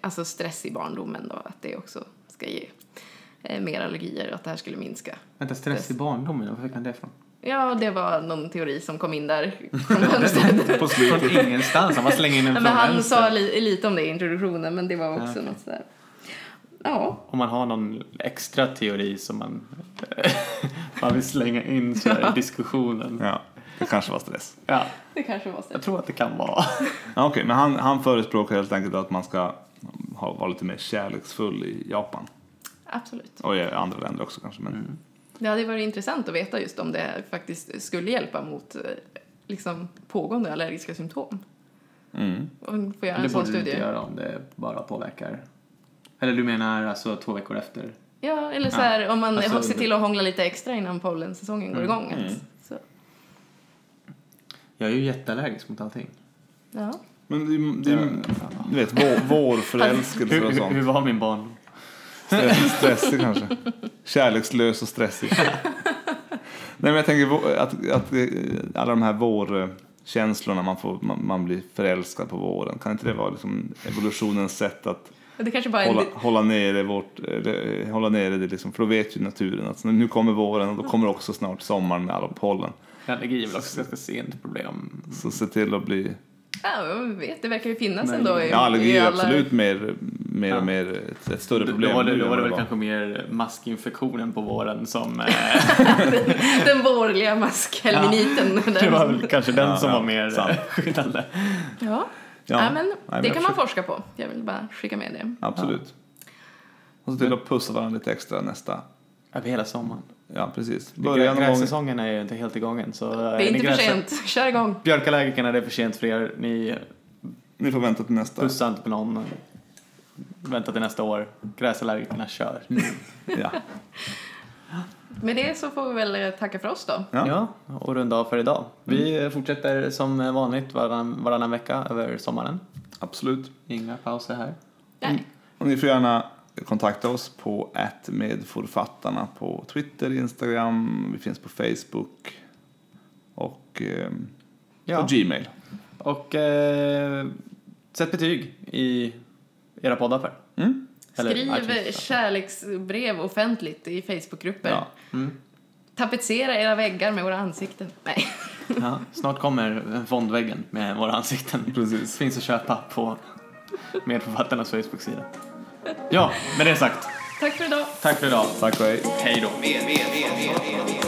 alltså stress i barndomen då, att det också ska ge eh, mer allergier och att det här skulle minska.
Vänta, stress i barndomen, var fick han det ifrån?
Ja, det var någon teori som kom
*laughs*
in där från vänster.
Från
På slutet.
ingenstans, han bara slänger in den
*laughs* Ja,
från
men han
vänster.
sa li- lite om det i introduktionen, men det var också
okej.
något sådär. Ja,
Om man har någon extra teori som man, *laughs* man vill slänga in så här i diskussionen.
Ja, det kanske var stress.
Ja,
det kanske var så.
jag tror att det kan vara.
Ja, Okej, men han, han förespråkar helt enkelt att man ska ha, vara lite mer kärleksfull i Japan.
Absolut.
Och i andra länder också kanske. Men
Det hade varit intressant att veta just om det faktiskt skulle hjälpa mot eh, liksom, pågående allergiska symptom.
Mm.
Om vi får göra
det
en sån
borde du inte
studie.
göra om det bara påverkar. Eller du menar alltså två veckor efter?
Ja, eller så här, om man
Alltså, Mm,
ser till att hångla lite extra innan pollensäsongen går igång. att- Så.
Jag är ju jätteallergisk mot allting.
Ja.
Men det, är ju- det, är ju- du vet, vår, vår förälskelse
Eh. Hur,
och
hur, hur
sånt.
var min barn?
Stress, stressig kanske. Kärlekslös och stressig. Nej men jag tänker vå- att, att eh, alla de här vårkänslorna man, får, man, man blir förälskad på våren. Kan inte det vara liksom evolutionens sätt att
Men Det kanske bara är en,
hålla, hålla nere vårt, eller, eh, hålla nere det liksom, för då vet ju naturen att nu kommer våren och då kommer också snart sommaren med alla pollen.
Allergi är väl också ett ganska sent problem.
Så se till att bli,
ja, jag vet, det verkar ju finnas
Nej.
ändå i,
ja allergi
i
är
alla...
absolut mer, mer
Ja.
och mer ett, ett större problem.
Då var det,
nu
då
än
var det
vad
väl
var.
kanske mer maskinfektionen på våren
*laughs*
som... eh,
Den borgerliga maskhelminiten. *laughs*
det var väl kanske den
Ja,
som
ja,
var mer *laughs*
sant.
eh, skyddande.
Ja.
Ja.
Nej, men
men
det
jag
kan man forska på. Jag vill bara skicka med det.
Absolut. Och se till att pussa varandra lite extra nästa,
Över hela sommaren.
ja precis. Börja någon gång.
Gräksäsongen är ju inte helt igången så... eh,
Det är inte för sent. Kör igång.
Björkallergikerna, det är för sent för er. Ni
Ni får vänta till nästa.
pussar inte på någon. Vänta till nästa år. Gräsallergikerna kör.
Ja.
Med det så får vi väl eh, tacka för oss då.
Ja.
Ja, och runda av för idag. Vi fortsätter som vanligt varann, varannan vecka över sommaren.
Absolut.
Inga pauser här.
Nej.
Och ni får gärna kontakta oss på medforfattarna på Twitter, Instagram, vi finns på Facebook och ehm,
Ja.
på Gmail.
Och eh, sätt betyg i era poddappar.
Mm?
Eller
Skriv eh,
iTunes.
kärleksbrev offentligt i Facebookgrupper.
Ja.
Mm.
Tapetsera era väggar med våra ansikten. Nej.
Ja. Snart kommer fondväggen med våra ansikten.
Precis.
Finns att köpa på medförfattarnas Facebook-sida. Ja, med det sagt.
Tack för idag.
Tack för idag.
Tack och hej.
Hej då.
Med, med, med, med, med, med.